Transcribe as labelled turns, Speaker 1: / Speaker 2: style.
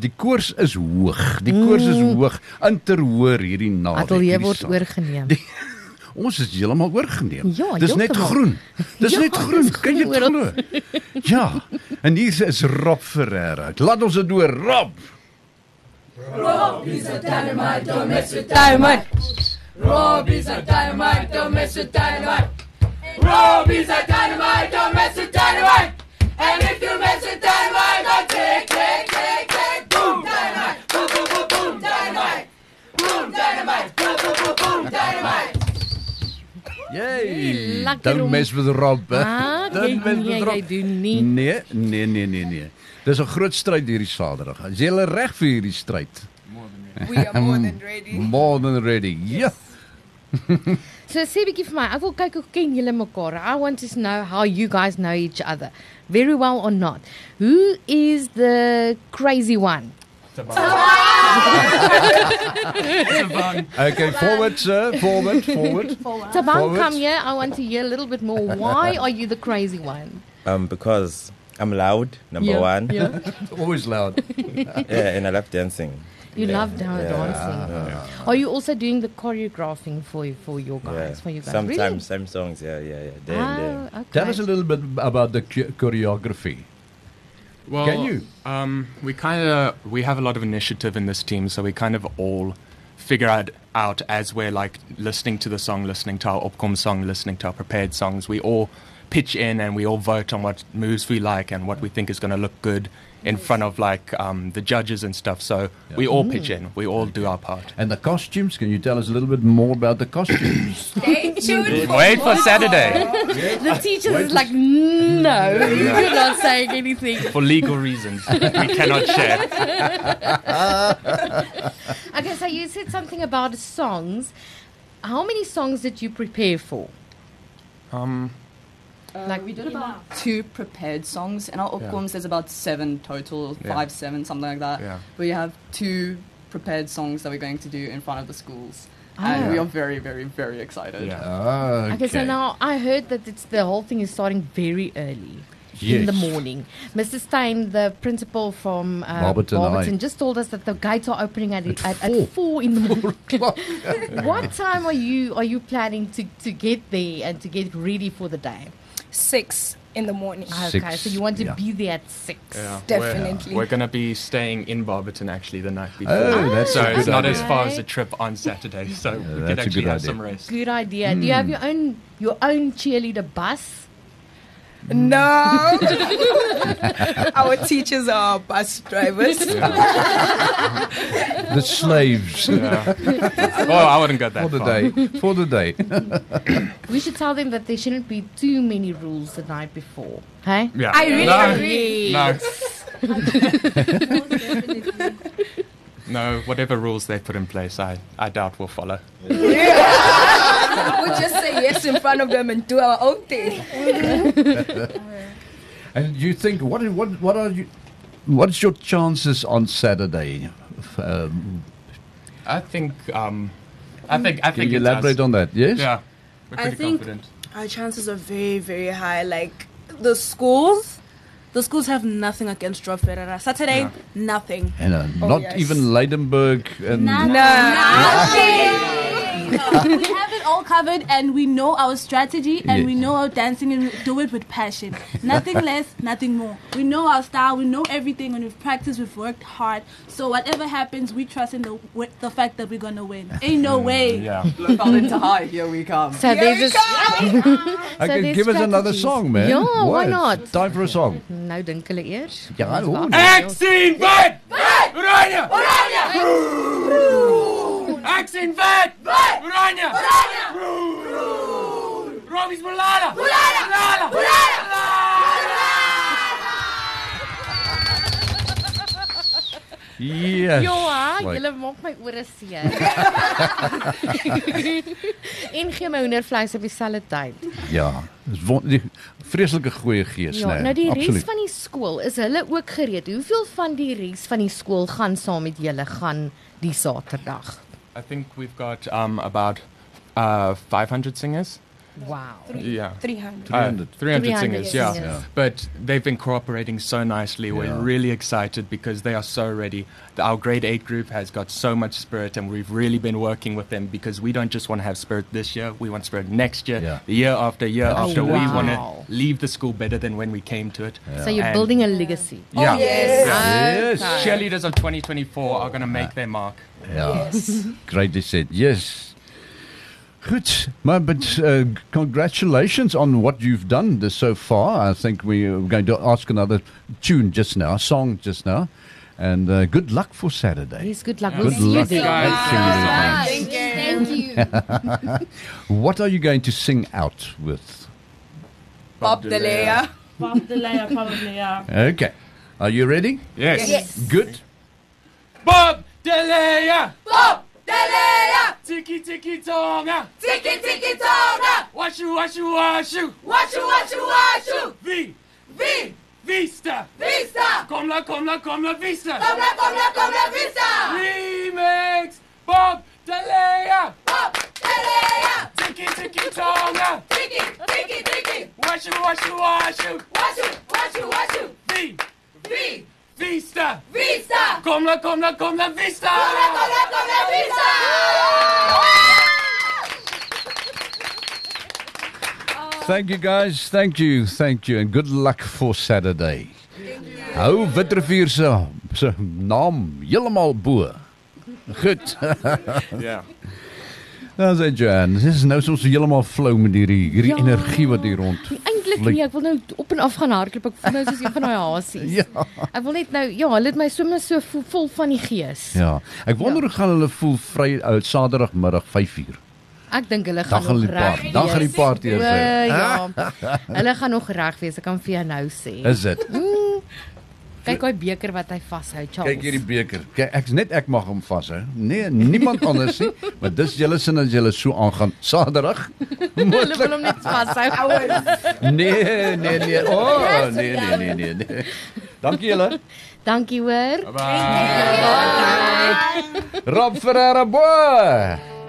Speaker 1: Die koers is hoog. Die koers is hoog. Interhoor hierdie naweek.
Speaker 2: Mm. Atelier
Speaker 1: hierdie
Speaker 2: word
Speaker 1: sa-
Speaker 2: oorgeneem.
Speaker 1: Ons is heeltemal oorgeneem.
Speaker 2: Ja,
Speaker 1: dis net
Speaker 2: heeltemal.
Speaker 1: groen. Dis
Speaker 2: Ja,
Speaker 1: net
Speaker 2: dis
Speaker 1: groen. Kan jy dit
Speaker 2: groen
Speaker 1: glo?
Speaker 2: oral.
Speaker 1: Ja. En hier is Rob Ferreira. Laat ons dit doen, Rob.
Speaker 3: dynamite. Robbie's a dynamite, don't mess with dynamite. Robbie's a dynamite, don't mess with dynamite. And if you mess with dynamite, I'll click, click, click, click, boom, dynamite, boom, boom, boom, boom, dynamite, boom, dynamite, boom, boom, boom, boom, dynamite.
Speaker 1: Jy.
Speaker 2: lekker
Speaker 1: Dan
Speaker 2: om-
Speaker 1: mes met Rob.
Speaker 2: Ah, jy
Speaker 1: Dan mes
Speaker 2: nee,
Speaker 1: met
Speaker 2: jy
Speaker 1: Rob.
Speaker 2: doen nie.
Speaker 1: Nee, nee, nee, nee, nee. Dis 'n groot stryd hierdie Saterdag. Is jy reg vir hierdie stryd?
Speaker 3: We are more than ready.
Speaker 1: More than ready. Ja.
Speaker 2: So sê bietjie vir my, ek wil kyk hoe ken julle mekaar. I want to know how you guys know each other. Very well or not. Who is the crazy one?
Speaker 1: Okay, forward sir, forward, forward.
Speaker 2: Taban,
Speaker 1: Forwards.
Speaker 2: come here. I want to hear a little bit more. Why are you the crazy one?
Speaker 4: Um, because I'm loud, number
Speaker 2: Yeah,
Speaker 4: one. Yeah.
Speaker 2: yeah.
Speaker 1: Always loud.
Speaker 4: and I love dancing.
Speaker 2: You
Speaker 4: Yeah,
Speaker 2: love dan-
Speaker 4: yeah,
Speaker 2: dancing.
Speaker 4: yeah,
Speaker 2: Are you also doing the choreographing for for your guys? Oh, For you guys?
Speaker 4: Sometimes
Speaker 2: really?
Speaker 4: some songs, yeah, yeah, yeah. There and there.
Speaker 2: Oh, okay.
Speaker 1: Tell us a little bit about the cho- choreography.
Speaker 5: Well,
Speaker 1: Can you?
Speaker 5: Um, we kind of we have a lot of initiative in this team, so we kind of all figure out, out as we're like listening to the song, listening to our opcom song, listening to our prepared songs. We all pitch in and we all vote on what moves we like and what we think is going to look good in front of like um, the judges and stuff. So we all
Speaker 1: Mm.
Speaker 5: pitch in, we all do our part.
Speaker 1: And the costumes, can you tell us a little bit more about the costumes?
Speaker 3: Stay tuned
Speaker 5: Wait for Saturday
Speaker 2: The teacher is like, no, you're not saying anything.
Speaker 5: for legal reasons we cannot share.
Speaker 2: Okay, so you said something about songs. How many songs did you prepare for?
Speaker 5: Um,
Speaker 2: Like
Speaker 6: we did about two prepared songs in our opcoms. There's about seven total,
Speaker 5: Yeah.
Speaker 6: five, seven, something like that.
Speaker 5: Yeah.
Speaker 6: We have two prepared songs that we're going to do in front of the schools,
Speaker 2: Oh.
Speaker 6: and we are very, very, very excited.
Speaker 5: yeah.
Speaker 1: Ah,
Speaker 2: Okay, so now I heard that it's the whole thing is starting very early. In the
Speaker 1: Yes.
Speaker 2: morning, Mr. Stein, the principal from uh,
Speaker 1: Barberton High.
Speaker 2: Barberton, just told us that the gates are opening at at, at,
Speaker 1: four.
Speaker 2: four in the morning. what time are you are you planning to, to get there and to get ready for the day?
Speaker 3: Six in the morning.
Speaker 2: Okay,
Speaker 1: Six,
Speaker 2: so you want to
Speaker 1: yeah.
Speaker 2: be there at six.
Speaker 5: Yeah,
Speaker 3: Definitely.
Speaker 5: We're, we're going to be staying in Barberton actually the night before.
Speaker 1: Oh, that's
Speaker 5: so
Speaker 1: a
Speaker 5: it's
Speaker 1: good
Speaker 5: not
Speaker 1: idea.
Speaker 5: as far as a trip on Saturday. So we
Speaker 1: that's
Speaker 5: could
Speaker 1: a
Speaker 5: actually
Speaker 1: good
Speaker 5: have
Speaker 1: idea.
Speaker 5: some rest.
Speaker 2: Good idea. Do you have
Speaker 1: Hmm.
Speaker 2: your own your own cheerleader bus?
Speaker 3: No. Our teachers are bus drivers.
Speaker 1: the slaves
Speaker 5: Yeah. oh, I wouldn't go that
Speaker 1: for the
Speaker 5: far.
Speaker 1: day. For the day.
Speaker 2: We should tell them that there shouldn't be too many rules the night before. Hey?
Speaker 5: Yeah.
Speaker 3: I really
Speaker 5: no,
Speaker 3: agree.
Speaker 5: No. no, whatever rules they put in place, I, I doubt we'll follow.
Speaker 3: We'll just say yes in front of them and do our own thing.
Speaker 1: And you think what? What? What are you? What's your chances on Saturday? F- Um,
Speaker 5: I think. Um, I think. I
Speaker 1: can
Speaker 5: think.
Speaker 1: you
Speaker 5: it's us.
Speaker 1: elaborate on that? Yes.
Speaker 5: Yeah. We're
Speaker 7: I
Speaker 5: pretty
Speaker 7: think-
Speaker 5: confident.
Speaker 7: Our chances are very, very high. Like the schools, the schools have nothing against Rob Ferreira. Saturday,
Speaker 5: Yeah.
Speaker 7: nothing.
Speaker 1: And uh, not
Speaker 3: yes.
Speaker 1: even Leidenberg and
Speaker 7: we have it all covered, and we know our strategy, and we
Speaker 1: Yes.
Speaker 7: know our dancing, and we do it with passion. Nothing less, nothing more. We know our style, we know everything, and we've practiced. We've worked hard. So whatever happens, we trust in the wi- the fact that we're gonna win. Ain't no way.
Speaker 5: Yeah.
Speaker 6: Look out into high, here we come.
Speaker 2: So they just
Speaker 1: I
Speaker 2: So
Speaker 1: can
Speaker 2: there's
Speaker 1: give us another
Speaker 2: strategies.
Speaker 1: song, man.
Speaker 2: Ja, why
Speaker 1: What?
Speaker 2: not?
Speaker 1: Time for a song.
Speaker 2: nou dink hulle eers.
Speaker 1: Ja,
Speaker 2: Ons
Speaker 1: oh,
Speaker 2: wag.
Speaker 5: Vaccine vet! Oranje! Oranje! Vaccine vet! Oranje! Oranje! Robbie's Mulala! Mulala! Mulala!
Speaker 1: Yes.
Speaker 2: Ja,
Speaker 1: Like-
Speaker 2: julle maak my ore seer. en gee my hoendervleis op dieselfde tyd.
Speaker 1: Ja, dis won- die vreeslike goeie gees,
Speaker 2: Ja,
Speaker 1: nee.
Speaker 2: nou die res
Speaker 1: absoluut.
Speaker 2: van die skool, is hulle ook gereed? Hoeveel van die res van die skool gaan saam met julle gaan die Saterdag?
Speaker 5: I think we've got um, about uh, 500 singers.
Speaker 2: Wow.
Speaker 5: Yeah.
Speaker 8: 300.
Speaker 5: Uh,
Speaker 1: 300.
Speaker 5: 300
Speaker 2: 300
Speaker 5: singers, yeah.
Speaker 2: singers.
Speaker 1: Ja.
Speaker 2: Yeah.
Speaker 5: But they've been cooperating so nicely. We're
Speaker 1: Yeah.
Speaker 5: really excited because they are so ready. The- Our grade 8 group has got so much spirit, and we've really been working with them because we don't just want to have spirit this year, we want spirit next year,
Speaker 1: Yeah.
Speaker 5: the year after, year after. We want
Speaker 2: Oh, wow.
Speaker 5: to leave the school better than when we came to it.
Speaker 2: So you're
Speaker 5: And-
Speaker 2: building a Oh, Ah, legacy.
Speaker 5: Yeah.
Speaker 1: Yes.
Speaker 5: Cheerleaders of 2024 are going to make their mark.
Speaker 1: Ja. Great said. Yes. Good. Maar but uh, congratulations on what you've done this so far. I think we're going to ask another tune just now, a song just now. And uh, good luck for Saturday.
Speaker 2: Yes, good luck.
Speaker 5: Yeah.
Speaker 2: We'll
Speaker 1: Ja. Good
Speaker 2: see you
Speaker 1: luck,
Speaker 2: there.
Speaker 5: guys.
Speaker 2: Thank
Speaker 8: Thank you.
Speaker 2: you. Thank you.
Speaker 1: What are you going to sing out with?
Speaker 5: Bob Delea.
Speaker 7: Bob the layer, probably, yeah.
Speaker 1: Okay. Are you ready?
Speaker 5: Yes.
Speaker 1: Good.
Speaker 5: Bob Delea.
Speaker 3: Bob Delia,
Speaker 5: Tiki tiki tonga.
Speaker 3: tiki tiki tonga,
Speaker 5: Washu washu washu.
Speaker 3: washu washu washu,
Speaker 5: V.
Speaker 3: vi,
Speaker 5: Vista.
Speaker 3: vista,
Speaker 5: Komla komla komla vista.
Speaker 3: komla komla komla vista,
Speaker 5: Remix. Bob Delea.
Speaker 3: Bob Delia,
Speaker 5: Tiki tiki tonga.
Speaker 3: tiki tiki tiki,
Speaker 5: Washu washu washu.
Speaker 3: washu washu washu,
Speaker 5: V.
Speaker 3: vi,
Speaker 5: Vista.
Speaker 3: vista,
Speaker 5: Komla komla komla vista.
Speaker 3: komla komla komla vista.
Speaker 1: Thank you guys. Thank you. Thank you and good luck for Saturday. Hou Witrifuur se se naam heeltemal bo. Goed.
Speaker 5: Yeah.
Speaker 1: Dan sê Jan, dit is nou soms heeltemal flou met hierdie hierdie
Speaker 2: Ja.
Speaker 1: energie wat hier rond.
Speaker 2: Eintlik
Speaker 1: Vlieg.
Speaker 2: nee, ek wil nou op en af gaan hardloop. Ek voel nou soos een van daai hasies.
Speaker 1: Ja.
Speaker 2: Ek wil net nou ja, hulle het my sommer so vo- vol van die gees.
Speaker 1: Ja. Ek wonder hoe gaan hulle voel vry uh, Saterdagmiddag 5uur.
Speaker 2: Ek dink hulle gaan
Speaker 1: Dan gaan
Speaker 2: nog
Speaker 1: die
Speaker 2: reg.
Speaker 1: party, dan gaan die party
Speaker 2: wees.
Speaker 1: eers.
Speaker 2: O,
Speaker 1: weer.
Speaker 2: Ja. Hulle gaan nog reg wees, ek kan vir jou nou sê.
Speaker 1: Is dit?
Speaker 2: Kyk daai beker wat hy vashou, Charles.
Speaker 1: Kyk hierdie beker. Kyk, ek's net ek mag hom vashou. Nee, niemand anders nie, maar dis julle sin as julle so aangaan. Saterdag.
Speaker 2: Hulle wil hom net vashou.
Speaker 1: Nee, nee, nee. O, oh, nee, nee, nee, nee, nee. Dankie julle.
Speaker 2: Dankie hoor.
Speaker 5: Bye.
Speaker 1: Rob Ferreira Boy.